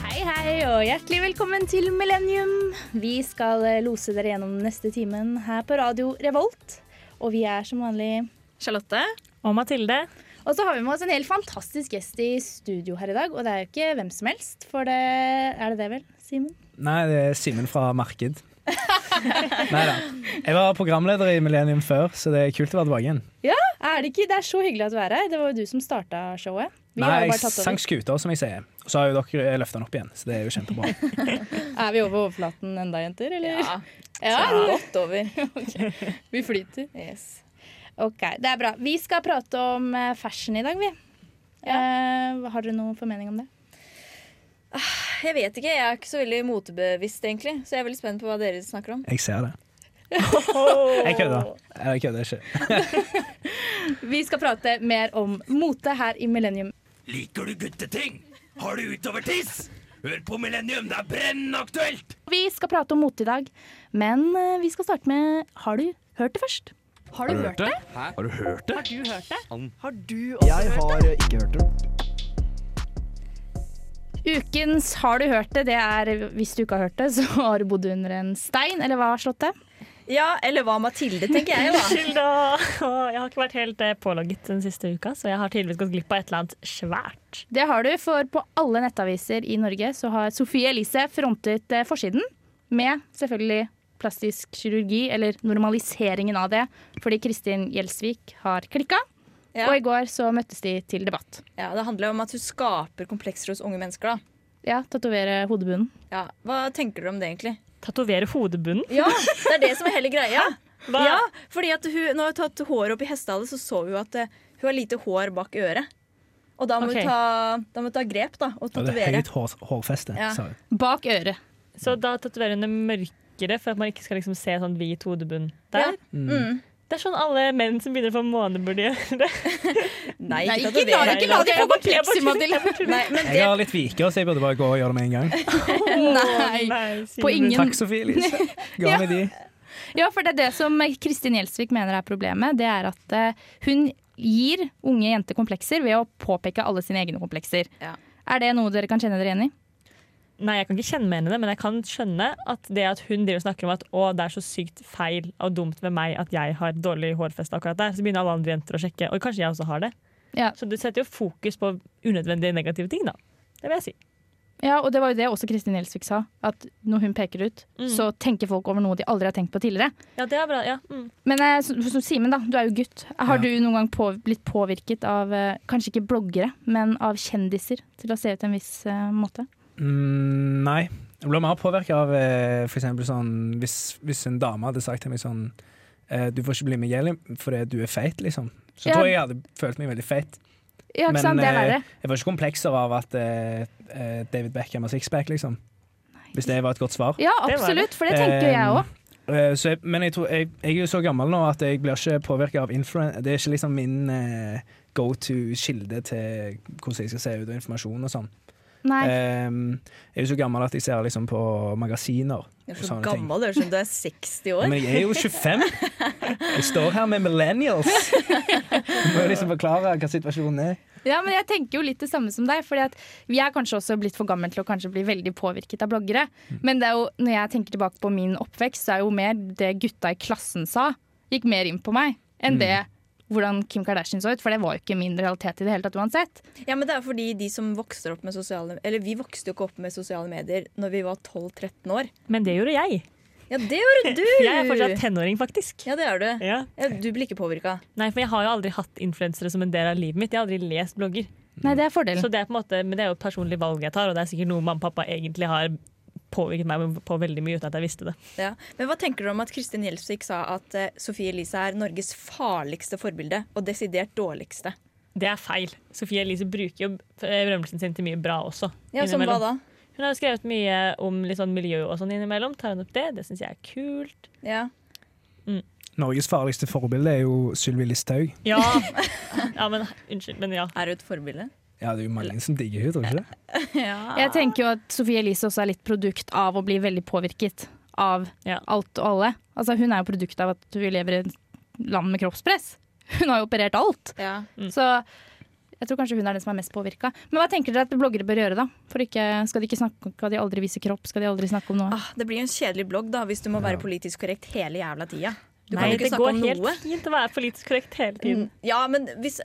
Hei og hjertelig velkommen til Millennium. Vi skal eh, lose dere gjennom den neste timen her på Radio Revolt. Og vi er som vanlig Charlotte. Og Mathilde. Og så har vi med oss en helt fantastisk gjest i studio her i dag. Og det er jo ikke hvem som helst, for det Er det det vel, Simen? Nei, det er Simen fra Marked. Nei da. Jeg var programleder i Millennium før, så det er kult å være tilbake igjen. Er det ikke? Det er så hyggelig at du er her. Det var jo du som starta showet. Vi Nei, har jo jeg bare tatt sank over. skuta, som jeg sier. Og så har jo dere løfta den opp igjen, så det er jo kjempebra. Er vi over overflaten enda, jenter? Eller? Ja, Ja, Godt over. vi flyter. Yes. Ok, Det er bra. Vi skal prate om eh, fashion i dag, vi. Eh, har dere noen formening om det? Jeg vet ikke, jeg er ikke så veldig motebevisst, egentlig. Så jeg er veldig spent på hva dere snakker om. Jeg ser det. Jeg kødder. Eller, Jeg kødder ikke. Vi skal prate mer om mote her i Millennium. Liker du gutteting? Har du utovertiss? Hør på Millennium, det er brennende aktuelt! Vi skal prate om mote i dag, men eh, vi skal starte med Har du hørt det først? Har du hørt det? Har du hørt det? Du hørt det? Ukens Har du hørt det? Det er hvis du ikke har hørt det, så har du bodd under en stein, eller hva, Slåtte? Ja, eller hva Mathilde, tenker jeg, da. Unnskyld, da. Å, Jeg har ikke vært helt eh, pålogget den siste uka, så jeg har tydeligvis gått glipp av et eller annet svært. Det har du, for på alle nettaviser i Norge så har Sofie Elise frontet eh, forsiden med selvfølgelig plastisk kirurgi, eller normaliseringen av det, fordi Kristin Gjelsvik har klikka. Ja. Og i går så møttes de til debatt. Ja, det handler om at hun skaper komplekser hos unge mennesker, da. Ja, tatovere hodebunnen. Ja, Hva tenker dere om det, egentlig? Tatovere hodebunnen. Ja, det er det som er hele greia. Hva? Ja, fordi at hun, Når hun har tatt håret opp i hestehale, så så hun at eh, hun har lite hår bak øret. Og da må, Ok. hun, ta, da må hun ta grep da, og Og det er tatovere. høyt hår, hårfeste, Ja. sa hun. Bak øret. Så da tatoverer hun det mørkere for at man ikke skal liksom se sånn hvit hodebunn Ja. der. Mm. Det er sånn alle menn som begynner å få måne, burde gjøre. Nei, Nei, ikke ikke la, tatovere. ikke la de Jeg få bare- jeg komplekser, bare- Mathilde. Nei, men Jeg det, har litt viker, så jeg burde bare gå og gjøre det med en gang. Nei. Nei, På Simen. ingen- Takk, Sofie Elise. Ga meg de. Ja, for det er det som Kristin Gjelsvik mener er problemet. Det er at eh, hun gir unge jenter komplekser ved å påpeke alle sine egne komplekser. Ja. Er det noe dere kan kjenne dere igjen i? Nei, jeg kan ikke kjenne meg igjen i det, men jeg kan skjønne at det at hun driver og snakker om at å, det er så sykt feil og dumt ved meg at jeg har dårlig hårfeste akkurat der, så begynner alle andre jenter å sjekke. Og kanskje jeg også har det. Ja. Så du setter jo fokus på unødvendige negative ting, da. Det vil jeg si. ja, og det var jo det også Kristin Gjelsvik sa. At når hun peker ut, Mm. så tenker folk over noe de aldri har tenkt på tidligere. Ja, det er bra. Ja. Mm. Men eh, så- så Simen, da, du er jo gutt. Har Ja. du noen gang på, blitt påvirket av eh, kanskje ikke bloggere, men av kjendiser til å se ut en viss eh, måte? Mm, nei. Jeg ble mer påvirka av eh, for eksempel sånn hvis, hvis en dame hadde sagt til meg sånn eh, Du får ikke bli med Jelly fordi du er feit, liksom. Så Ja. tror jeg jeg hadde følt meg veldig feit. Ja, ikke Men, sant? Det er eh, verre. Jeg var ikke komplekser av at eh, eh, David Beckham har sixpack, liksom. Hvis det var et godt svar. Ja, det var det. absolutt, for det tenker jo jeg Eh, òg. eh, så jeg, men jeg, tror, jeg, jeg er jo så gammel nå at jeg blir ikke påvirka av influen... Det er ikke liksom min eh, go to-kilde til hvordan jeg skal se ut og informasjon og sånn. Nei. eh, Ehm, jeg er jo så gammel at jeg ser liksom på magasiner. du er og så sånne ting. gammel, du er som du er 60 år. Men jeg er jo 25. Jeg står her med millennials. Jeg må jo liksom forklare hva situasjonen er. Ja, men jeg tenker jo litt det samme som deg. Fordi at Vi er kanskje også blitt for gammel til å kanskje bli veldig påvirket av bloggere. Mm. Men det er jo, når jeg tenker tilbake på min oppvekst, så er jo mer det gutta i klassen sa, gikk mer inn på meg Mm. enn det hvordan Kim Kardashian så ut. For det var jo ikke min realitet i det hele tatt uansett. Ja, men det er fordi de som vokser opp med sosiale Eller vi vokste jo ikke opp med sosiale medier når vi var 12-13 år. Men det gjorde jeg. Ja, det gjorde du! Jeg er fortsatt tenåring, faktisk. Ja, det er du. Ja. Ja, du blir ikke påvirka. Nei, for jeg har jo aldri hatt influensere som en del av livet mitt. Jeg har aldri lest blogger. Nei, det er fordelen. Så det er på en måte, men det er jo et personlig valg jeg tar, og det er sikkert noe mamma og pappa egentlig har påvirket meg på veldig mye uten at jeg visste det. Ja. Men hva tenker du om at Kristin Gjelsvik sa at eh, Sofie Elise er Norges farligste forbilde, og desidert dårligste? Det er feil. Sofie Elise bruker jo berømmelsen sin til mye bra også. Ja, Som hva innimellom. da? Hun har skrevet mye om litt sånn miljø og sånn innimellom. Tar hun opp det? Det syns jeg er kult. Ja. Norges farligste forbilde er jo Sylvi Listhaug. Ja. ja, men unnskyld. Men ja. Er hun et forbilde? Ja, det er jo mange som digger henne, tror du ikke det? Ja. Jeg tenker jo at Sophie Elise også er litt produkt av å bli veldig påvirket av Ja. alt og alle. Altså, hun er jo produkt av at hun lever i et land med kroppspress. Hun har jo operert alt. Ja. Så Jeg tror kanskje hun er den som er mest påvirka. Men hva tenker dere at bloggere bør gjøre, da? For ikke, skal, de ikke snakke, skal de aldri vise kropp? Skal de aldri snakke om noe? Ah, det blir jo en kjedelig blogg da, hvis du må være politisk korrekt hele jævla tida. Du Nei, kan jo ikke det snakke går om helt noe. Mm. fint å være politisk korrekt hele tiden. Ja, men hvis,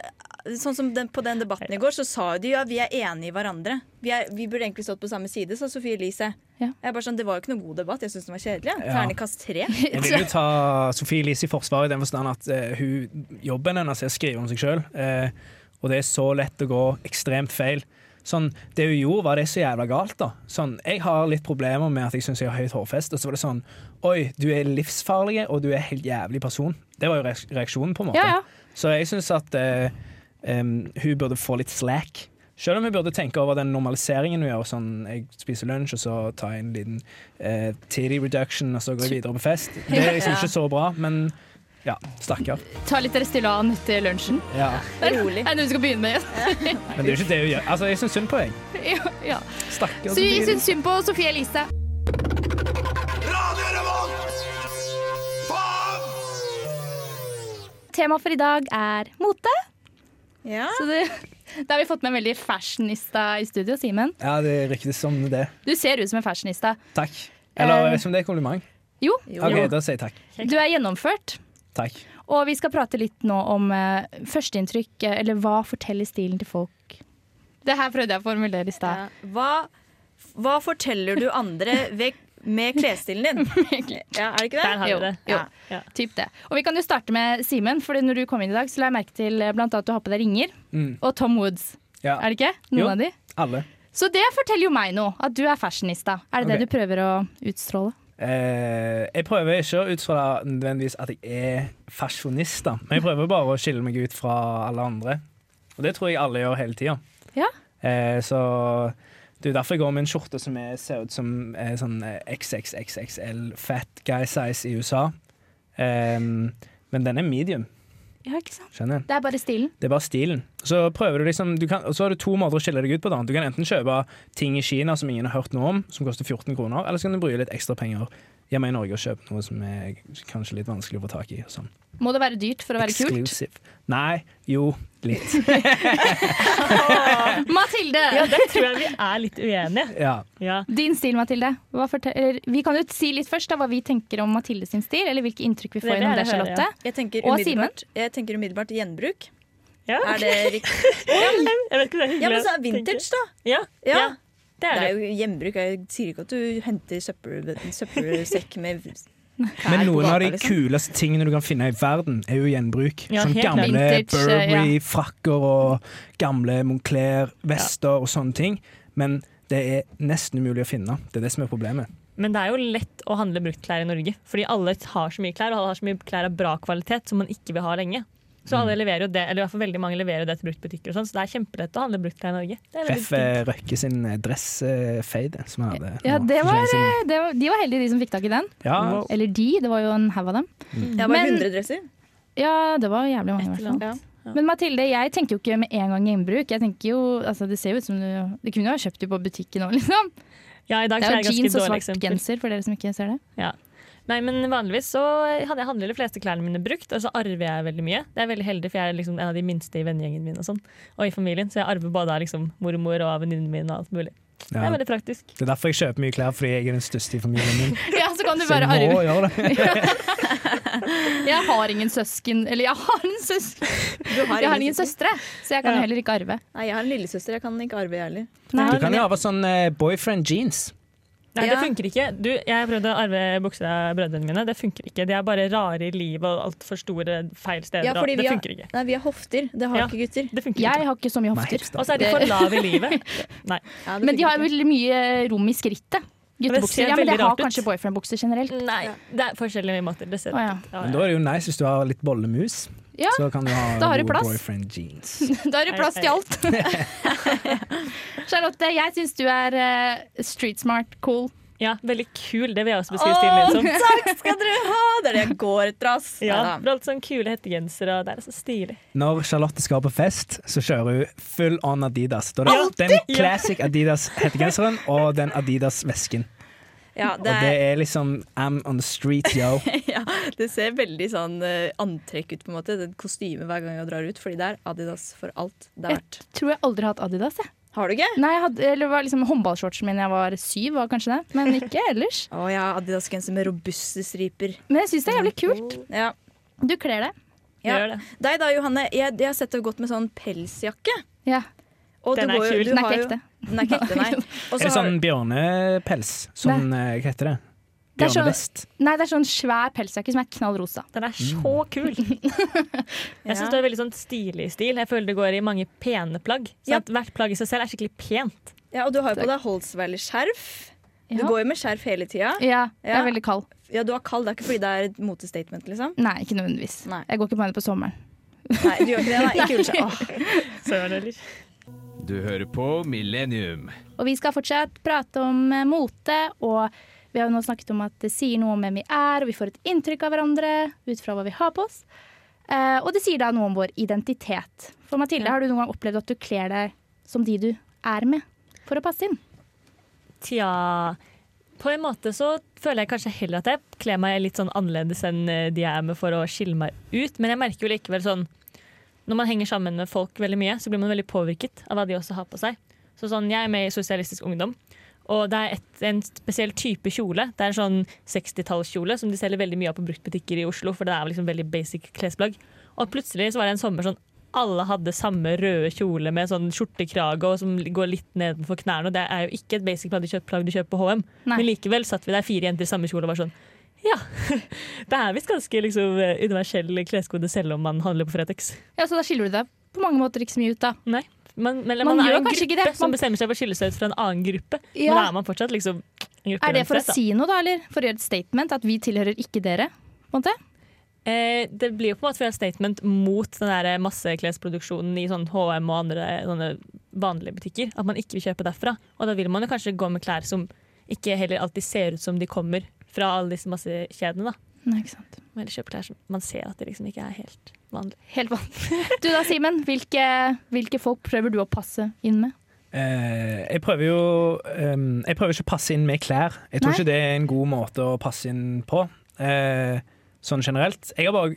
sånn som den, På den debatten i går så sa jo de ja, vi er enige i hverandre. Vi, er, vi burde egentlig stått på samme side, sa Sofie Elise. Ja. Jeg er bare sånn, Det var jo ikke noen god debatt. Jeg syns den var kjedelig. Ja. Ja. Ternekast tre. Jeg vil jo ta Sofie Elise i forsvar i den forstand at eh, hun, jobben hennes er å skrive om seg sjøl, og det er så lett å gå ekstremt feil. Sånn, det hun gjorde, var det så jævla galt, da. Sånn, jeg har litt problemer med at jeg syns jeg har høyt hårfest, og så var det sånn Oi, du er livsfarlig, og du er helt jævlig person. Det var jo reaks- reaksjonen, på en måte. Ja, ja. Så jeg syns at eh, em, hun burde få litt slack. Selv om hun burde tenke over den normaliseringen hun gjør. Sånn, jeg spiser lunsj, og så tar jeg en liten eh, titty reduction, og så går jeg videre på fest. Det er liksom ikke så bra, men ja, stakkar. Ta litt Restylane til lunsjen. Ja. Rolig. Er det noe du skal begynne med? Jess? Men det er jo ikke det hun gjør. Altså, jeg syns synd på henne. Ja, ja. Stakkar. Så vi syns synd på Sofie Elise. Radio Revolt! Faen! Temaet for i dag er mote. Ja. Så det, da har vi fått med en veldig fashionista i studio. Simen, Ja, det ryktes som det. du ser ut som en fashionista. Takk. Eller Eh. jeg vet ikke om det er et kompliment. Jo, Jo. OK, da sier jeg takk. du er gjennomført. Takk. Og vi skal prate litt nå om eh, førsteinntrykk, eh, eller hva forteller stilen til folk. Det her prøvde jeg å formulere i stad. Ja. Hva, hva forteller du andre ved, med klesstilen din? Ja, er det ikke det? Der har Jo, vi det. jo. Ja. Typ det. Og vi kan jo starte med Simen, for når du kom inn i dag, så la jeg merke til eh, blant annet at du har på deg ringer. Mm. Og Tom Woods, Ja, er det ikke? Noen Jo. av de? alle. Så det forteller jo meg noe, at du er fashionista. Er det Ok. det du prøver å utstråle? Eh, jeg prøver ikke å utstråle nødvendigvis at jeg er fasjonist, da. men jeg prøver bare å skille meg ut fra alle andre. Og det tror jeg alle gjør hele tida. Ja. Eh, så det er derfor jeg går med en skjorte som er, ser ut som eh, sånn eh, XXXXL fat guy size i USA. Eh, men den er medium, Ja, ikke sant? skjønner du. Det er bare stilen. Det er bare stilen. Så prøver du liksom du kan, Og så har du to måter å skille deg ut på. da Du kan enten kjøpe ting i Kina som ingen har hørt noe om, som koster 14 kroner, eller så kan du bruke litt ekstra penger hjemme i Norge og kjøpe noe som er kanskje litt vanskelig å få tak i. og Sånn. Må det være dyrt for å være kult? Exclusive. Nei, jo, litt. Mathilde! ja, der tror jeg vi er litt uenige. Ja. Ja. Din stil, Mathilde. Hva forteller, vi kan jo si litt først da, hva vi tenker om Mathilde sin stil, eller hvilke inntrykk vi Det får vil gjennom det, jeg høre, Charlotte. Jeg tenker Og umiddelbart, jeg tenker umiddelbart gjenbruk. Ja. Er det riktig? Jeg vet ikke om det er hyggelig. Ja, men å så er vintage, tenke. da. Ja, Ja. ja. det Det er det. er jo gjenbruk. Jeg sier ikke at du henter søppel, en søppelsekk med klær Men på noen av gata, de liksom. kuleste tingene du kan finne i verden, er jo gjenbruk. Ja, sånn helt klart. gamle Vintage, Burberry-frakker og gamle Moncler-vester og sånne ting. Men det er nesten umulig å finne. Det er det som er problemet. Men det er jo lett å handle bruktklær i Norge. Fordi alle har så mye klær, og alle har så mye klær av bra kvalitet som man ikke vil ha lenge. Så Mm. alle leverer jo det, eller i hvert fall veldig mange leverer jo det til bruktbutikker og sånn, så det er kjempelett å handle bruktklær i Norge. Det er veldig Ref. eh, Røkke sin eh, dressfade som han hadde. Ja, nå det for var, lenge siden. eh, det var, de var heldige, de som fikk tak i den. ja, Oh. Eller de, det var jo en haug av dem. Jeg har bare Men- 100 dresser. Ja, det var jævlig mange, i hvert fall. Ja. Men Mathilde, jeg tenker jo ikke med en gang gjenbruk. Jeg tenker jo, altså Det ser jo ut som du Du kunne jo ha kjøpt det på butikken òg, liksom. Ja, i dag Det så er jo jeg jeans ganske og dårlig svart eksempel. genser, for dere som ikke ser det. Ja. Nei, men vanligvis så hadde jeg handler de fleste klærne mine brukt, og så arver jeg veldig mye. Det er veldig heldig, for jeg er liksom en av de minste i vennegjengen min og sånn, og i familien, så jeg arver både av liksom mormor og av venninnen min og alt mulig. Det ja. er veldig praktisk. Det er derfor jeg kjøper mye klær, fordi jeg er den største i familien min. Ja, så kan du Så bare jeg arve. må gjøre det. Jeg har ingen søsken Eller jeg har en søsken Du har Jeg har ingen ingen søster? søstre, så jeg kan Ja. heller ikke arve. Nei, jeg har en lillesøster. Jeg kan ikke arve, jeg heller. Nei. Du kan jo ha sånn eh, boyfriend jeans. Nei, Ja. det funker ikke. Du, jeg prøvde å arve bukser av brødrene mine. Det funker ikke. De er bare rare i livet og altfor store feil steder. Ja, og- fordi vi det har- funker ikke. Nei, vi har hofter. Det har Ja. ikke gutter. Det funker Jeg ikke. har ikke så mye hofter. Nei, Og så er de for lave i livet. Nei. Ja, Men det de funker har ikke. veldig mye rom i skrittet. Guttebukser. ser Ja, men det veldig har rart ut. kanskje boyfriendbukser generelt. Nei. Det er forskjellige måter. Det ser Å, ja. Ja, Men da er det jo nice hvis du har litt bollemus. Ja, Så kan du ha da har du gode plass. boyfriend jeans. Da er det plass til alt. Charlotte, jeg syns du er eh, street smart, cool. ja, veldig kul. Det vil jeg også beskrive Å, stilen din som. takk skal dere ha! Det er det jeg går etter, ass. Ja, Neida. for alt sånn kule hettegensere, og det er så stilig. Når Charlotte skal på fest, så kjører hun full on Adidas. Da er det den classic Adidas-hettegenseren og den Adidas-vesken. Ja, Og det er liksom I'm on the street, yo. ja, det ser veldig sånn eh, antrekk ut, på en måte. Det er et kostyme hver gang jeg drar ut, fordi det er Adidas for alt det er verdt. Tror jeg aldri har hatt Adidas. Jeg. Har du ikke? Nei, jeg hadde, eller det var liksom Håndballshortsen min da jeg var syv, var kanskje det. Men ikke ellers. Å, jeg har Adidas-genser med robuste striper. Men jeg syns det er jævlig kult. Ja. Du kler det. ja. Gjør det. Deg da, Johanne. Jeg, jeg har sett deg godt med sånn pelsjakke. Ja, Og Den du er går jo- kul. du Den er har ikke jo- ekte. Den er ikke ekte, nei. Og Er så det har sånn bjørnepels? Sånn, eh, hva heter det? Det er så- Bjørnevest? Nei, det er sånn svær pelsjakke som er knall rosa. Den er så kul! Jeg syns det er veldig sånn stilig stil. Jeg føler det går i mange pene plagg. Så Ja. at hvert plagg i seg selv er skikkelig pent. Ja, og du har jo på deg Holsweiler-skjerf. Du Ja. går jo med skjerf hele tida. Ja, jeg Ja. er veldig kald. Ja, du er kald, det er ikke fordi det er et motestatement, liksom. Nei, ikke nødvendigvis. Nei. Jeg går ikke på henne på sommeren. Nei, du gjør ikke det. Nei, ikke ullskjerf. Åh. Du hører på Millennium. Og vi skal fortsatt prate om eh, mote, og vi har jo nå snakket om at det sier noe om hvem vi er, og vi får et inntrykk av hverandre ut fra hva vi har på oss. Eh, og det sier da noe om vår identitet. For Mathilde, har du noen gang opplevd at du kler deg som de du er med, for å passe inn? Tja På en måte så føler jeg kanskje heller at jeg kler meg litt sånn annerledes enn eh, de jeg er med for å skille meg ut, men jeg merker jo likevel sånn Når man henger sammen med folk veldig mye, så blir man veldig påvirket av hva de også har på seg. Så sånn, Jeg er med i Sosialistisk Ungdom, og det er et, en spesiell type kjole. Det er en sånn 60-tallskjole som de selger veldig mye av på bruktbutikker i Oslo, for det er liksom veldig basic klesplagg. Og plutselig så var det en sommer sånn alle hadde samme røde kjole med sånn skjortekrage og som går litt nedenfor knærne. Og det er jo ikke et basic plagg du kjøper, plagg du kjøper på HM, Nei. men likevel satt vi der fire jenter i samme kjole og var sånn ja, det er visst ganske liksom, universell kleskode selv om man handler på Fretex. Ja, Så da skiller du deg på mange måter ikke så mye ut, da. Nei. Man, men, Man man, er gjør jo en kanskje gruppe ikke det. som Man- bestemmer seg for å skille seg ut fra en annen gruppe. Ja. Men da er man fortsatt liksom en gruppe Er det for å uansett, da. si noe, da, eller for å gjøre et statement? At vi tilhører ikke dere? på en måte? Eh, det blir jo på en måte et statement mot den der masseklesproduksjonen i sånn HM og andre sånne vanlige butikker. At man ikke vil kjøpe derfra. Og da vil man jo kanskje gå med klær som ikke heller alltid ser ut som de kommer fra alle disse massekjedene. da. Nei, ikke sant. Man heller kjøper klær som man ser at de liksom ikke er helt vanlige. Helt vanlig. Du da, Simen. Hvilke, hvilke folk prøver du å passe inn med? Eh, jeg prøver jo ehm, Jeg prøver ikke å passe inn med klær. Jeg tror Nei. ikke det er en god måte å passe inn på, eh, sånn generelt. Jeg har bare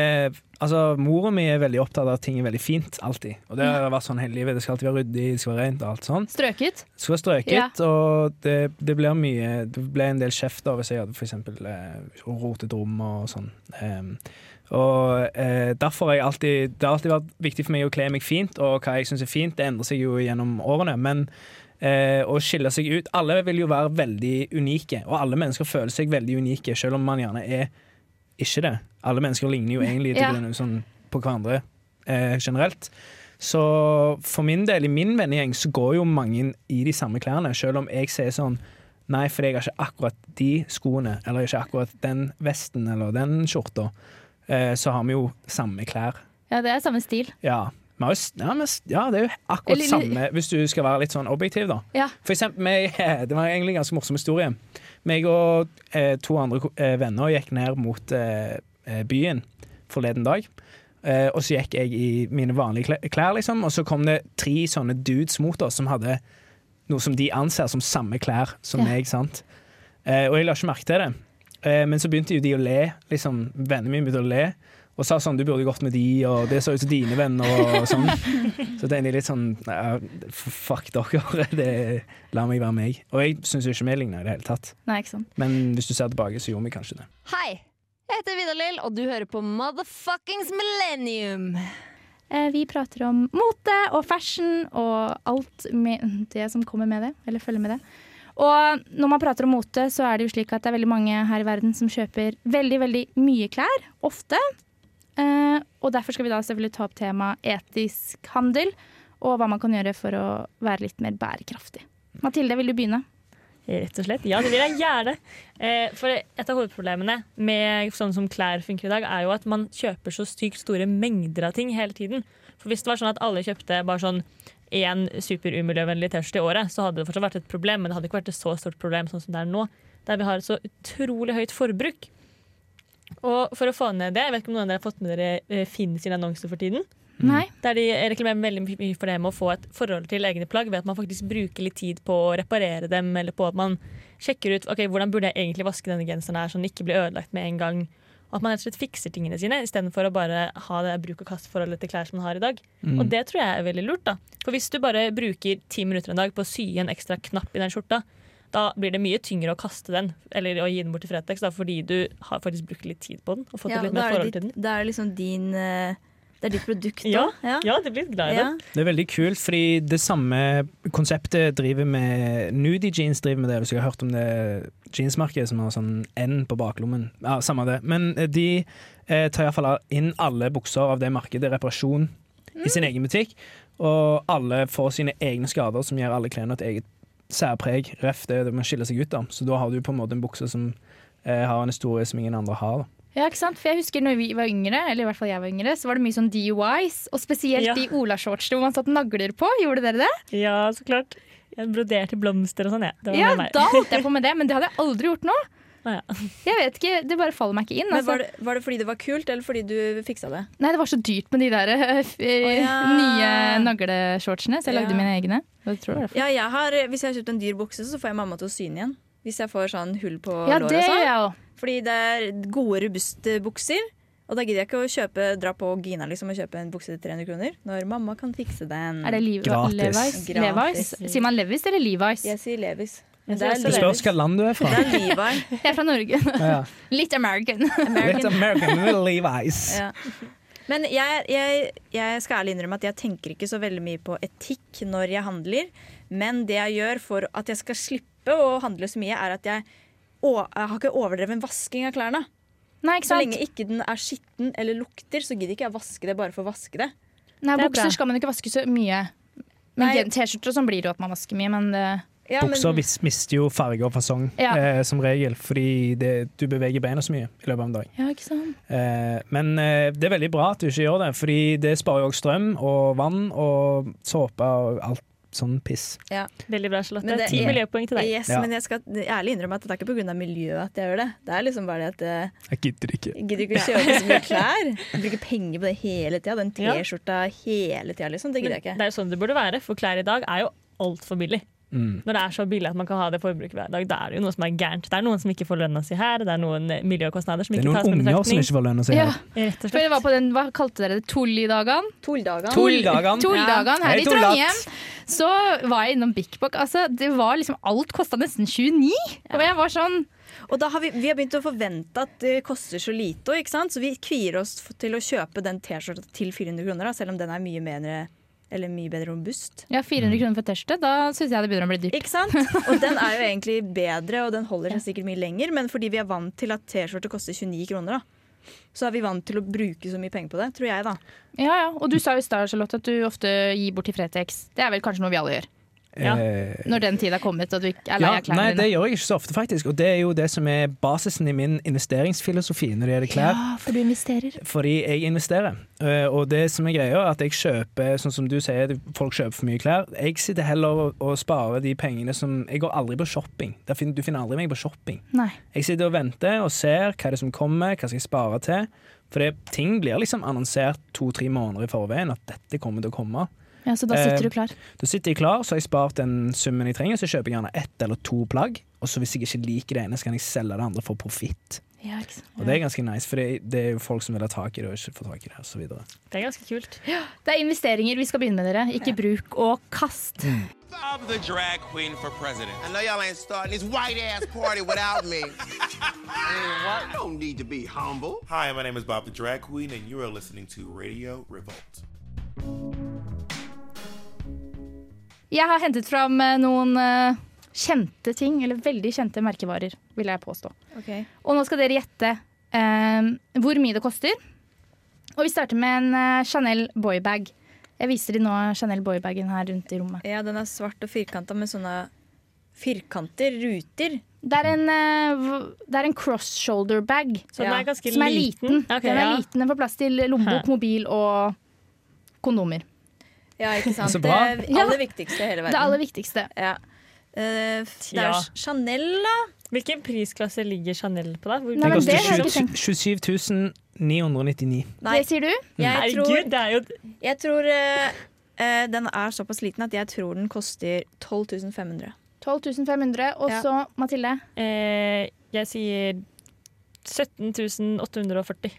eh, Altså, Mora mi er veldig opptatt av at ting er veldig fint, alltid. Og det har vært sånn hele livet. Det skal alltid være ryddig, det skal være rent og alt sånn. Strøket? Det skal være strøket, og det, det blir mye Det ble en del kjeft da hvis jeg hadde for eksempel eh, rotet rom og sånn. Ehm, og eh, derfor har jeg alltid Det har alltid vært viktig for meg å kle meg fint, og hva jeg syns er fint, det endrer seg jo gjennom årene. Men eh, å skille seg ut Alle vil jo være veldig unike, og alle mennesker føler seg veldig unike, selv om man gjerne er ikke det. Alle mennesker ligner jo egentlig til Ja. grunn, sånn, på hverandre eh, generelt. Så for min del, i min vennegjeng, så går jo mange i de samme klærne, selv om jeg sier sånn Nei, fordi jeg har ikke akkurat de skoene, eller ikke akkurat den vesten eller den skjorta. Eh, så har vi jo samme klær. Ja, det er samme stil. Ja, vi har jo, s- ja, men, s- ja det er jo akkurat Eller- samme, hvis du skal være litt sånn objektiv, da. Ja. For eksempel, meg, det var egentlig en ganske morsom historie. Meg og eh, to andre ko- eh, venner gikk ned mot eh, eh, byen forleden dag. Eh, og så gikk jeg i mine vanlige kle- klær, liksom. Og så kom det tre sånne dudes mot oss som hadde noe som de anser som samme klær som Ja. meg. sant? Eh, og jeg la ikke merke til det. Eh, men så begynte jo de å le. liksom, Vennene mine begynte å le. Og sa sånn 'du burde gått med de', og 'det så ut som dine venner', og sånn. Så tenkte jeg litt sånn «Nei, Fuck dere, det, la meg være meg. Og jeg syns ikke vi ligner i det hele tatt. Nei, ikke sant. Men hvis du ser tilbake, så gjorde vi kanskje det. Hei! Jeg heter Vidar-Lill, og du hører på Motherfuckings Millennium. Eh, vi prater om mote og fashion og alt med det som kommer med det, eller følger med det. Og når man prater om mote, så er det jo slik at det er veldig mange her i verden som kjøper veldig, veldig mye klær. Ofte. Eh, og derfor skal vi da selvfølgelig ta opp temaet etisk handel, og hva man kan gjøre for å være litt mer bærekraftig. Mathilde, vil du begynne? Rett og slett. Ja, det vil jeg gjerne. Eh, for et av hovedproblemene med sånn som klær funker i dag, er jo at man kjøper så sykt store mengder av ting hele tiden. For hvis det var sånn at alle kjøpte bare sånn én superumiljøvennlig T-skjorte i året, så hadde det fortsatt vært et problem, men det hadde ikke vært et så stort problem sånn som det er nå, der vi har et så utrolig høyt forbruk. Og for å få ned det, jeg vet ikke om noen av dere har fått med dere eh, Finn sine annonser for tiden? Nei. Der de reklamerer veldig mye for det med å få et forhold til egne plagg ved at man faktisk bruker litt tid på å reparere dem, eller på at man sjekker ut ok, hvordan burde jeg egentlig vaske denne genseren her, så den ikke blir ødelagt med en gang. Og At man rett og slett fikser tingene sine istedenfor å bare ha det bruk-og-kast-forholdet til klær som man har i dag. Og det tror jeg er veldig lurt. da. For hvis du bare bruker ti minutter en dag på å sy en ekstra knapp i den skjorta, da blir det mye tyngre å kaste den eller å gi den bort til Fretex, da, fordi du har faktisk brukt litt tid på den. og fått Ja, et litt da, mer er forhold det til ditt, den. da er det liksom din eh, Det er ditt produkt Ja, da. Ja. ja, du blir litt glad i den. Ja. Det er veldig kult, fordi det samme konseptet driver med Nudie Jeans driver med det, hvis jeg har hørt om det jeansmerket som har sånn N på baklommen. Ja, samme det. Men eh, de eh, tar iallfall inn alle bukser av det markedet, reparasjon, i sin egen butikk. Og alle får sine egne skader som gir alle klærne et eget særpreg. Ref det man skiller seg ut av. Så da har du på en måte en bukse som eh, har en historie som ingen andre har. Da. Ja, ikke sant? For jeg husker når vi var yngre, eller i hvert fall jeg var yngre, så var det mye sånn DUIs, og spesielt Ja. de olashortsene hvor man satt nagler på. Gjorde dere det? Ja, så klart. Jeg broderte blomster og sånn, jeg. Det var Ja, med meg. da holdt jeg på med det, men det hadde jeg aldri gjort nå. Å, ja. Jeg vet ikke, Det bare faller meg ikke inn. Men altså. var det, var det fordi det var kult, eller fordi du fiksa det? Nei, det var så dyrt med de der eh, f- eh, ja. nye nagleshortsene, så jeg lagde Ja. mine egne. Jeg tror det var derfor. Ja, jeg har, Hvis jeg har kjøpt en dyr bukse, så får jeg mamma til å sy den igjen. Hvis jeg får sånn hull på Ja, låret. det gjør og sånn. jeg òg. Fordi det er gode, robuste bukser. Og da gidder jeg ikke å kjøpe, dra på Gina liksom, og kjøpe en bukse til 300 kroner. Når mamma kan fikse den. Er det Levi- Gratis. Levi's? Levi's? Gratis. Sier man Levis eller Levi's? Jeg sier Levis. Jeg Men sier også Det spørs hvilket land du er Det fra. er Levi. Jeg er fra Norge. Ja. Litt American. Litt American with Levi's. Ja. Men jeg, jeg, jeg skal ærlig innrømme at jeg tenker ikke så veldig mye på etikk når jeg handler. Men det jeg gjør for at jeg skal slippe å handle så mye, er at jeg, å, jeg har ikke overdreven vasking av klærne. Nei, ikke Så sant? lenge ikke den er skitten eller lukter, så gidder ikke jeg vaske det bare for å vaske det. Nei, Det er bra. Bukser skal man ikke vaske så mye. Men Nei. gen- T-skjorter og sånn blir det jo at man vasker mye, men det Ja, men- Bukser vis- mister jo farge og fasong Ja. eh, som regel, fordi det, du beveger beina så mye i løpet av en dag. Ja, ikke sant? Eh, men eh, det er veldig bra at du ikke gjør det, fordi det sparer jo også strøm og vann og såpe og alt sånn piss. Veldig bra, Charlotte. Men det- Ti miljøpoeng til deg. Yes, Ja. men jeg skal ærlig innrømme at det er ikke pga. miljøet at jeg gjør det. Det er liksom bare det at eh, Jeg gidder ikke. jeg gidder ikke å kjøpe så mye klær. Jeg bruker penger på det hele tida. Den Ja. T-skjorta hele tida, liksom. Men Det gidder jeg det ikke. er jo sånn det burde være, for klær i dag er jo altfor billig. Mm. Når det er så billig at man kan ha det forbruket hver dag, da er det jo noe som er gærent. Det er noen som ikke får lønna si her, det er noen eh, miljøkostnader som Det ikke er tas noen med unger som betraktning. ikke får lønn å si Ja, her. Rett og for det slett. var på den, Hva kalte dere det? Tulldagene? Tulldagene. Tulldagene. Tulldagene her i Hei, Tullat. Trondheim. Så var jeg innom Bik Bok. Altså, det var liksom, alt kosta nesten 29! Og jeg var sånn Og da har vi, vi har begynt å forvente at det koster så lite, ikke sant? så vi kvier oss f- til å kjøpe den T-skjorta til 400 kroner, da, selv om den er mye bedre, eller mye bedre robust. Ja, 400 Mm. kroner for T-skjorte, da syns jeg det begynner å bli dyrt. Ikke sant? Og den er jo egentlig bedre, og den holder seg sikkert mye lenger, men fordi vi er vant til at T-skjorte koster 29 kroner, da. Så er vi vant til å bruke så mye penger på det, tror jeg, da. Ja, ja. Og du sa jo i stad, Charlotte, at du ofte gir bort til Fretex. Det er vel kanskje noe vi alle gjør? Ja. Eh, Når den tid er kommet og du ikke er lei Ja, av klærne nei, det dine. gjør jeg ikke så ofte, faktisk. Og det er jo det som er basisen i min investeringsfilosofi når det gjelder klær. Ja, for du investerer. fordi jeg investerer. Eh, Og det som er greia, er at jeg kjøper sånn som du sier, du- folk kjøper for mye klær. Jeg sitter heller og, og sparer de pengene som Jeg går aldri på shopping. Der fin- Du finner aldri meg på shopping. Nei. Jeg sitter og venter og ser hva det er som kommer, hva skal jeg spare til. For det, ting blir liksom annonsert to-tre måneder i forveien at dette kommer til å komme. Ja, Så da Eh, sitter du klar. Da sitter jeg klar, så har jeg spart den summen jeg trenger, så kjøper jeg gjerne ett eller to plagg. Og så hvis jeg ikke liker det ene, så kan jeg selge det andre for profitt. Ja, ikke sant? Og det er ganske nice, for det, det er jo folk som vil ha tak i det og ikke får tak i det, og så videre. Det er ganske kult. Det er investeringer vi skal begynne med, dere. Ikke bruk og kast. Bob the drag queen for president. I know y'all ain't starting this white ass party without me. Man, what? Don't need to be humble. Hi, my name is Bob the drag queen, and you are listening to Radio Revolt. Jeg har hentet fram eh, noen eh, kjente ting, eller veldig kjente merkevarer, vil jeg påstå. Og nå skal dere gjette eh, hvor mye det koster. Og vi starter med en eh, Chanel boybag. Jeg viser de nå Chanel boybagen her rundt i rommet. Ja, den er svart og firkanta med sånne firkanter, ruter. Det er en, eh, v- det er en cross shoulder bag. Så den Ja. er ganske Som er liten. Ok, den er ja. liten, den får plass til lommebok, Hæ. mobil og kondomer. Ja, ikke sant? Eh, Så Det bra. er Ja. aller viktigste i hele Det verden. aller viktigste. Ja. Eh, det er Ja. Chanel, da. Hvilken prisklasse ligger Chanel på, da? Nei, Hvor, Den men koster det har jeg ikke 27 27 999. Nei. Det sier du? Jeg tror, Herregud, det er jo jeg tror eh, eh, den er såpass liten at jeg tror den koster 12 500. 12 500. Og Ja. så, Mathilde, eh, Jeg sier 17 840.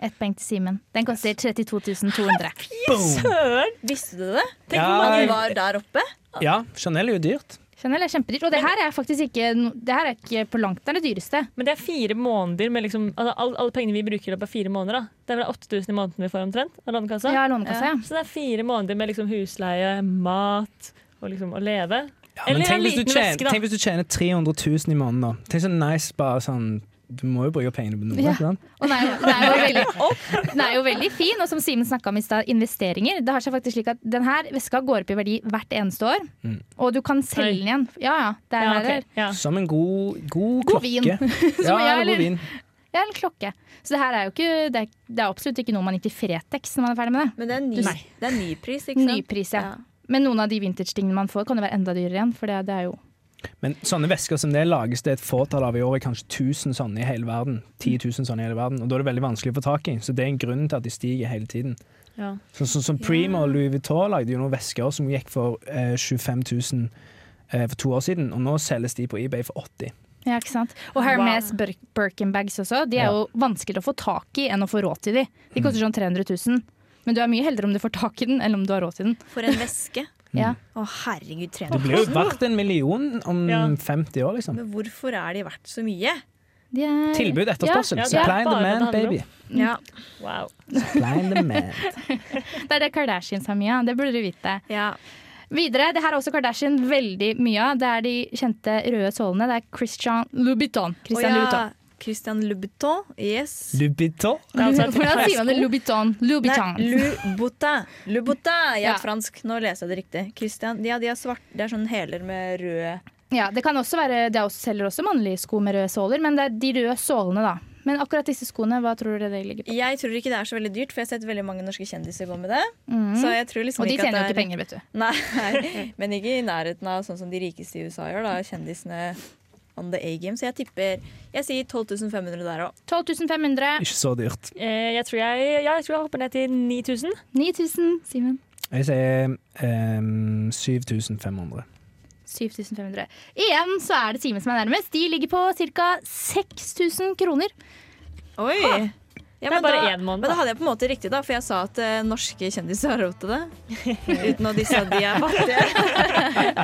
ett poeng til Simen. Den koster 32 200. Boom! Søren! Visste du det? Tenk Ja, hvor mange jeg- var der oppe. Ja, Chanel er jo dyrt. Chanel er kjempedyrt. Og det her er faktisk ikke, no- det her er ikke på langt nær det dyreste. Men det er fire måneder med liksom altså, all, Alle pengene vi bruker i løpet av fire måneder. da. Det er vel 8000 i måneden vi får omtrent av Lånekassa. Ja, Lånekassa, ja. Så det er fire måneder med liksom husleie, mat og liksom å leve. Ja, men Eller tenk en hvis, du liten tjener, veske, da. tenk hvis du tjener 300 000 i måneden, da. Tenk så nice, bare sånn Du må jo bruke pengene på noe. Ja. ikke sant? Og den er, jo- den, er jo veldig, den er jo veldig fin, og som Simen snakka om i stad, investeringer. Det har seg faktisk slik at den her veska går opp i verdi hvert eneste år, og du kan selge den igjen. Ja, ja. Det er Ja, der det er. ok. ja. Som en god, god, God klokke. vin. ja, jeg, eller god eller- vin. Ja, en klokke. Så det her er jo ikke Det er, det er absolutt ikke noe man gikk i Fretex når man er ferdig med det. Men det er, ny, Nei. det er nypris, ikke sant? Nypris, ja. Men noen av de vintage-tingene man får, kan jo være enda dyrere igjen, for det, det er jo Men sånne vesker som det lages det et fåtall av i året, kanskje 1000 sånne i hele verden. Mm. 10 000 sånne i hele verden, og da er det veldig vanskelig å få tak i. Så det er en grunn til at de stiger hele tiden. Ja. Sånn som Prima og Louis Vuitton lagde jo noen vesker som gikk for eh, 25 000 eh, for to år siden, og nå selges de på eBay for 80 Ja, ikke sant. Og Hermes Bir Birkenbags også, de er jo vanskeligere å få tak i enn å få råd til de. De koster sånn 300 000. Men du er mye heldre om du får tak i den, enn om du har råd til den. For en veske. Ja. Å, herregud, Det 300 blir jo verdt en million om Ja. 50 år, liksom. Men hvorfor er de verdt så mye? De er- Tilbud, etterspørsel. Ja, det er Supply bare and det demand, det handler om. baby. Mm. Ja. Wow. Supply and demand. Ja, det er det Kardashians har mye av. Det burde du vite. ja. Videre, det her er også Kardashian veldig mye av. Det er de kjente røde sålene. Det er Christian Louboutin. Christian Å ja, Louboutin. Christian Louboutin. Yes. Louboutin. Det er altså et Hvordan sier man det? Louboutin. Nei, Louboutin. Louboutin. Louboutin. Jeg er Ja. fransk. Nå leser jeg det riktig. Christian, ja, de er svart. Det er sånn hæler med rød Ja, det kan også være Det er også, selger også mannlige sko med røde såler, men det er de røde sålene, da. Men akkurat disse skoene, hva tror dere det ligger på? Jeg tror ikke det er så veldig dyrt, for jeg har sett veldig mange norske kjendiser gå med det. Så jeg tror liksom Mm. Og de ikke at tjener jo ikke det er- penger, vet du. Nei, men ikke i nærheten av sånn som de rikeste i USA gjør, da. Kjendisene on the A-game. Så jeg tipper Jeg sier 12 500 der òg. 12 500. Ikke så dyrt. Eh, jeg, tror jeg, ja, jeg tror jeg hopper ned til 9000. 9000, Simen. Jeg sier ehm, 7500. 7500. Igjen så er det Simen som er nærmest. De ligger på ca. 6000 kroner. Oi! Ja, Det er men bare da- én måned, Men da da. hadde jeg på en måte riktig, da, for jeg sa at eh, norske kjendiser har råd til det. Uten at de sa de er fattige.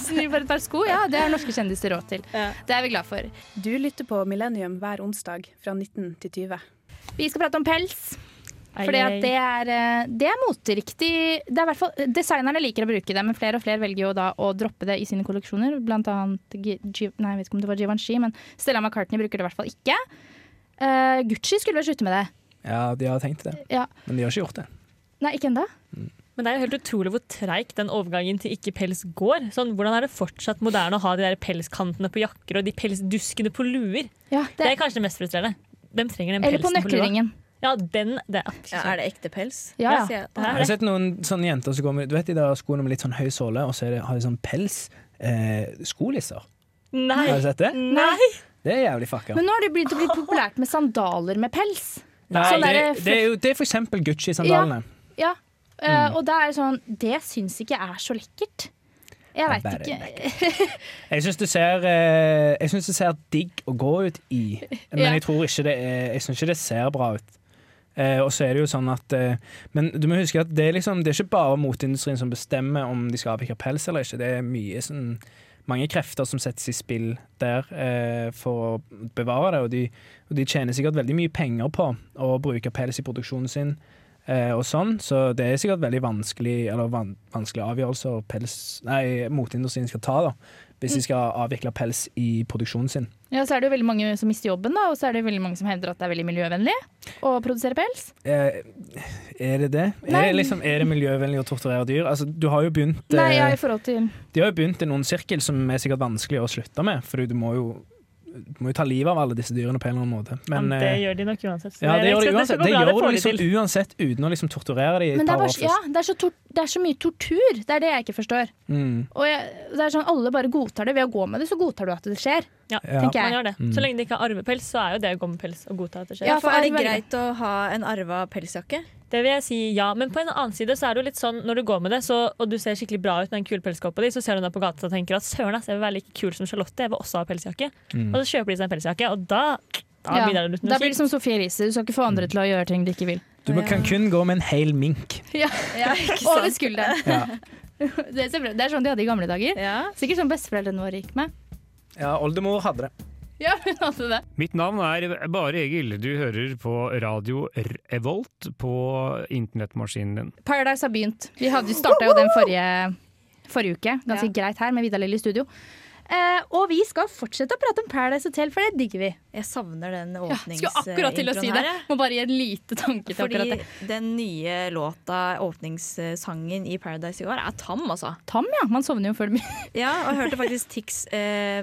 6000 for et par sko, ja, det har norske kjendiser råd til. Ja. Det er vi glad for. Du lytter på Millennium hver onsdag fra 19 til 20. Vi skal prate om pels. Ai, Fordi at ai. det er, eh, det er moteriktig. Det er i hvert fall, designerne liker å bruke det, men flere og flere velger jo da å droppe det i sine kolleksjoner. Blant annet G G nei, jeg vet ikke om det var Givenchy, men Stella McCartney bruker det i hvert fall ikke. Eh, Gucci skulle vel slutte med Ja, de har tenkt det, det. Ja. men de har ikke gjort det. Nei, ikke ennå. Men det er jo helt utrolig hvor treig den overgangen til ikke pels går. Sånn, hvordan er det fortsatt moderne å ha de der pelskantene på jakker og de pelsduskene på luer? Ja, det- Det, er kanskje det mest frustrerende. De trenger den eller på pelsen på lua. nøkkelringen. Ja, den, det er Ja, er det ekte pels? Ja, ja. sier jeg. Det er Jeg har sett noen sånne jenter som går med Du vet de der skoene med litt sånn høy såle, og så er det, har de sånn pels. Eh, skolisser. Nei! Har du sett det? Nei! Det er jævlig fucka. Mm. Men nå har det begynt å bli populært med sandaler med pels. Nei, sånn det, er det- det er jo det er for eksempel Gucci-sandalene. Ja. Eh, Mm. Og det er sånn Det syns ikke jeg er så lekkert. Jeg Det veit er ikke. bare Jeg syns det ser eh, Jeg synes det ser digg å gå ut i, men Ja. jeg tror ikke det er Jeg synes ikke det ser bra ut. Eh, og så er det jo sånn at eh, Men du må huske at det er liksom Det er ikke bare moteindustrien som bestemmer om de skal avvikle pels eller ikke. Det er mye sånn mange krefter som settes i spill der eh, for å bevare det, og de, og de tjener sikkert veldig mye penger på å bruke pels i produksjonen sin. Eh, og sånn, Så det er sikkert veldig vanskelig Eller van, vanskelige avgjørelser pels, Nei, moteindustrien skal ta, da hvis de skal avvikle pels i produksjonen sin. Ja, så er det jo veldig mange som mister jobben, da, og så er det jo veldig mange som hevder at det er veldig miljøvennlig å produsere pels. Eh, er det det? Er Nei. det, liksom, er det miljøvennlig å torturere dyr? Altså, du har jo begynt, eh, Nei, ja, i forhold til De har jo begynt en ond sirkel som er sikkert vanskelig å slutte med, for du må jo, du må jo ta livet av alle disse dyrene på en eller annen måte. Men, ja, det eh, gjør de nok uansett. Så ja, jeg det gjør regner de med at uansett. går Det bra, gjør du får de liksom til. uansett uten å liksom torturere dem i Men et det er, par bare, år så- ja, først. det, er så tor det er så mye tortur. Det er det jeg ikke forstår. Mm. Og jeg, det er sånn, alle bare godtar det. Ved å gå med det, så godtar du at det skjer. Ja, Ja. Mm. tenker Man jeg. gjør det. Så lenge det ikke er arvepels, så er jo det å gå med pels å godta at det skjer. Ja, Ja, for er det arv er greit å ha en arva pelsjakke? Det vil jeg si ja, men på en annen side så er det jo litt sånn når du går med det, så, og du ser skikkelig bra ut med en kul pelskåpe på deg, så ser du deg på gata og tenker at søren ass, jeg vil være like kul som Charlotte, jeg vil også ha pelsjakke. Mm. Og så kjøper de seg en pelsjakke, og da, da Ja. begynner det Da å lukte blir noe det kjipt. som Sofie Elise, du skal ikke få andre Mm. til å gjøre ting de ikke vil. Du må, kan kun gå med en hel mink. Ja, Over skulderen. Ja. Det er, så bra. det er sånn de hadde i gamle dager. Ja. Sikkert sånn besteforeldrene våre gikk med. Ja, oldemor hadde det. Ja, hun hadde det. Mitt navn er Bare Egil. Du hører på radio Revolt på internettmaskinen din. Paradise har begynt. Vi hadde starta jo den forrige, forrige uke, ganske greit her, med Vidar Lill i studio. Eh, og vi skal fortsette å prate om Paradise Hotel, for det digger vi. eh, Jeg savner den Ja, skulle akkurat til å si åpningsintroen det. her. jeg. Må bare gi en lite tanke til akkurat Fordi det. den nye låta, åpningssangen i Paradise i går, er tam, altså. Tam, ja. Man sovner jo før det blir Ja, og jeg hørte faktisk Tix eh,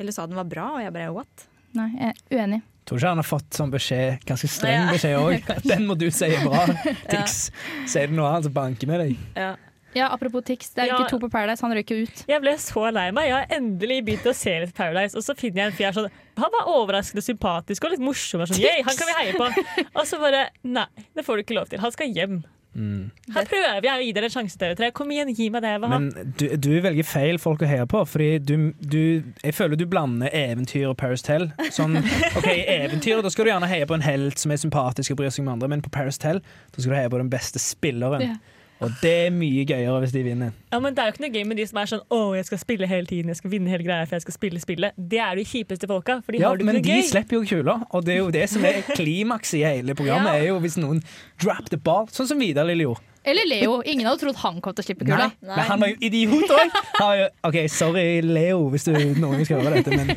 Eller sa den var bra, og jeg bare what? Nei, jeg er uenig. Tror ikke han har fått sånn beskjed, ganske streng beskjed òg. Den må du si er bra, Tix. Sier du noe annet, så banker vi deg. Ja, apropos Tix. Det er jo Ja. ikke to på Paradise, han røyk jo ut. Jeg ble så lei meg. Jeg har endelig begynt å se litt Paradise. Og så finner jeg en fyr sånn Han var overraskende sympatisk og litt morsom. Og sånn, Yay, han kan vi heie på. Og så bare Nei, det får du ikke lov til. Han skal hjem. Mm. Her prøver jeg å gi dere en sjanse, dere tre. Kom igjen, gi meg det jeg vil ha. Men du, du velger feil folk å heie på, fordi du, du Jeg føler du blander eventyr og Paris Tell. Sånn, OK, i eventyr da skal du gjerne heie på en helt som er sympatisk og bryr seg om andre, men på Paris Tell da skal du heie på den beste Ja. spilleren. Og det er mye gøyere hvis de vinner. Ja, men Det er jo ikke noe gøy med de som er sånn Å, jeg skal spille hele tiden, jeg skal vinne hele greia, for jeg skal spille spillet. Det er de kjipeste folka, for de Ja, har det men ikke de noe gøy. slipper jo kula, og det er jo det som er klimakset i hele programmet. Ja. er jo Hvis noen drop the ball, sånn som Vidar Lille gjorde. Eller Leo. Ingen hadde trodd han kom til å slippe kula. Men han var jo idiot òg! OK, sorry Leo, hvis du noen gang skal høre dette, men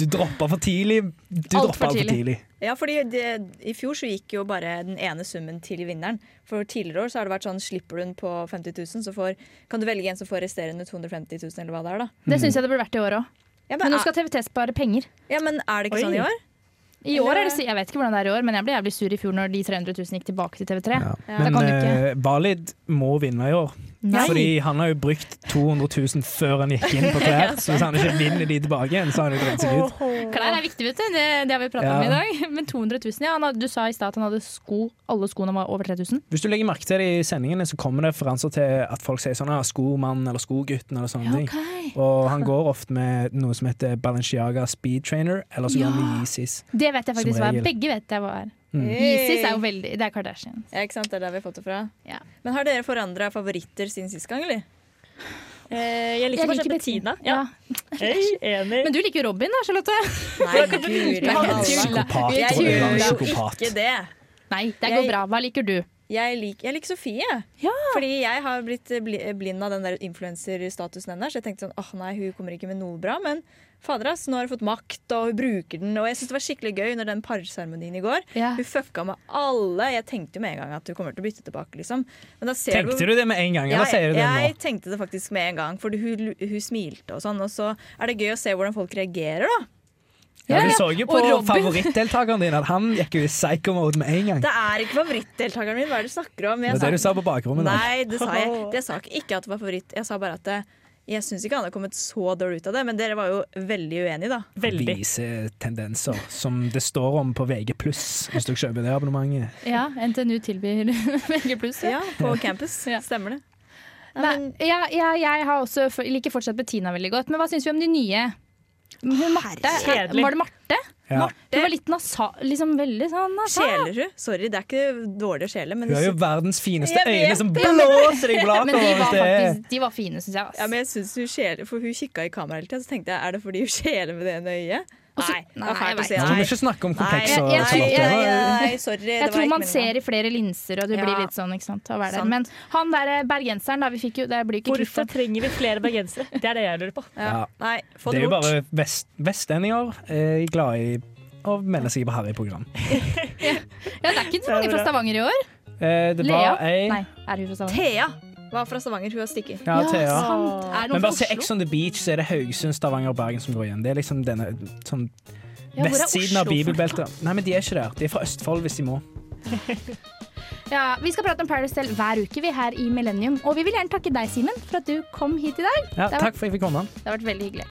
du droppa for tidlig. Du Alt for droppa altfor tidlig. Ja, fordi det, I fjor så gikk jo bare den ene summen til vinneren. For tidligere år så har det vært sånn slipper du den på 50 000, så får, kan du velge en som får resterende 250 000, eller hva det er, da. Det syns jeg det burde vært i år òg. Ja, Mhm. Men men, nå skal TVT spare penger. er- ja, men er det ikke Oi. sånn i år? I år er det, si- jeg vet ikke hvordan det er i år, men jeg ble jævlig sur i fjor når de 300 000 gikk tilbake til TV3. Ja. Da Men kan du ikke. eh, Valid må vinne i år, Nei. fordi han har jo brukt 200 000 før han gikk inn på klær. Så hvis han ikke vinner de tilbake igjen, så har han jo dreit seg ut. Klær er viktig, vet du. Det, det har vi prata om Ja. i dag. Men 200 000, ja. Han hadde, du sa i stad at han hadde sko, alle skoene var over 3000. Hvis du legger merke til det i sendingene, så kommer det referanser til at folk sier sånn ah, 'skomann' eller 'skogutten' eller sånne ting. Og han går ofte med noe som heter Balenciaga Speed Trainer, eller så går han med Yeezys. Det vet jeg faktisk Som hva er. regel. Begge vet jeg hva er. Isis er jo veldig Det er Kardashian. Ja, ikke sant, det er der vi har fått det fra. Ja. Men har dere forandra favoritter siden sist gang, eller? Eh, jeg liker fortsatt Bettina. Ja. Hei, enig. Men du liker jo Robin da, Charlotte? Nei, guri Nei, malla. jeg tuller. Psykopat. Jeg Robin er en gjør jo psykopat. ikke det. Nei, det Jeg- går bra. Hva liker du? Jeg liker, jeg liker Sofie. Ja. Fordi jeg har blitt bli- blind av den der influenserstatusen hennes. Jeg tenkte sånn, åh nei, hun kommer ikke med noe bra. Men fader ass, nå har hun fått makt, og hun bruker den. Og jeg syns det var skikkelig gøy under den parseremonien i går. Ja. Hun fucka med alle. Jeg tenkte jo med en gang at hun kommer til å bytte tilbake, liksom. Men da ser Tenkte du det med en gang, eller Ja, sier du det nå? jeg tenkte det faktisk med en gang, for hun, hun smilte og sånn. Og så er det gøy å se hvordan folk reagerer, da. Ja, du så jo på Og Robin. favorittdeltakeren din at han gikk jo i psycho-mode med en gang. Det er ikke favorittdeltakeren min, hva er det du snakker om? Det Jeg var det du sa på bakrommet. da. Nei, det sa jeg Det sa jeg ikke at det var favoritt. Jeg sa bare at det, jeg syns ikke han har kommet så dårlig ut av det, men dere var jo veldig uenige, da. Veldig. Vise tendenser som det står om på VG+, hvis dere kjøper det abonnementet. Ja, NTNU tilbyr VG+. Ja. Ja, på campus. Ja. Stemmer det. Nei, Nei, men, ja, ja, jeg har også, f- liker fortsatt Bettina veldig godt, men hva syns vi om de nye? Hun Marte, Kjedelig. var det Marte? Ja. Hun var litt nasa, liksom veldig sånn nasa. sjeler hun? Sorry, det er ikke dårlig å sjele, men, Hun har jo verdens fineste Jeg vet øyne som blåser deg Men de blakover. var hvis det er- faktisk de var fine, syns jeg. ass. ja, men jeg synes hun sjeler For hun kikka i kamera hele tida, så tenkte jeg er det fordi hun sjeler med det ene øyet? Og så- Nei, det Nei, var jeg fælt å vet si. Nå må vi ikke snakke om kompleks Nei, og jeg- jeg- Charlotte. jeg- jeg- Nei, sorry. det Jeg var tror ikke man meningen. ser i flere linser, og du Ja. blir litt sånn, ikke sant. Å være der. Sant. Men han der eh, bergenseren, da vi fikk jo Det blir ikke Hvorfor kvitt trenger vi flere bergensere? Det er det jeg lurer på. Ja. Nei, Det få det, er jo bort. bare vest, vestlendinger er glad i å melde seg på Harry-program. Ja, det er ikke så mange fra Stavanger i år. Eh, det Lea? var ei Nei, er hun fra Stavanger? Thea var fra Stavanger, hun har stikket. Ja, Thea. sant. Er det Men noen fra bare se Oslo? Ex on the Beach, så er det Haugesund, Stavanger og Bergen som går igjen. Det er liksom denne sånn, Ja, hvor er vestsiden av Oslo fra? bibelbeltet. Nei, men de er ikke der. De er fra Østfold hvis de må. Ja, vi skal prate om Paradise Hotel hver uke vi her i Millennium. Og vi vil gjerne takke deg, Simen, for at du kom hit i dag. Ja, det, har takk vært, for at jeg fikk komme. det har vært veldig hyggelig.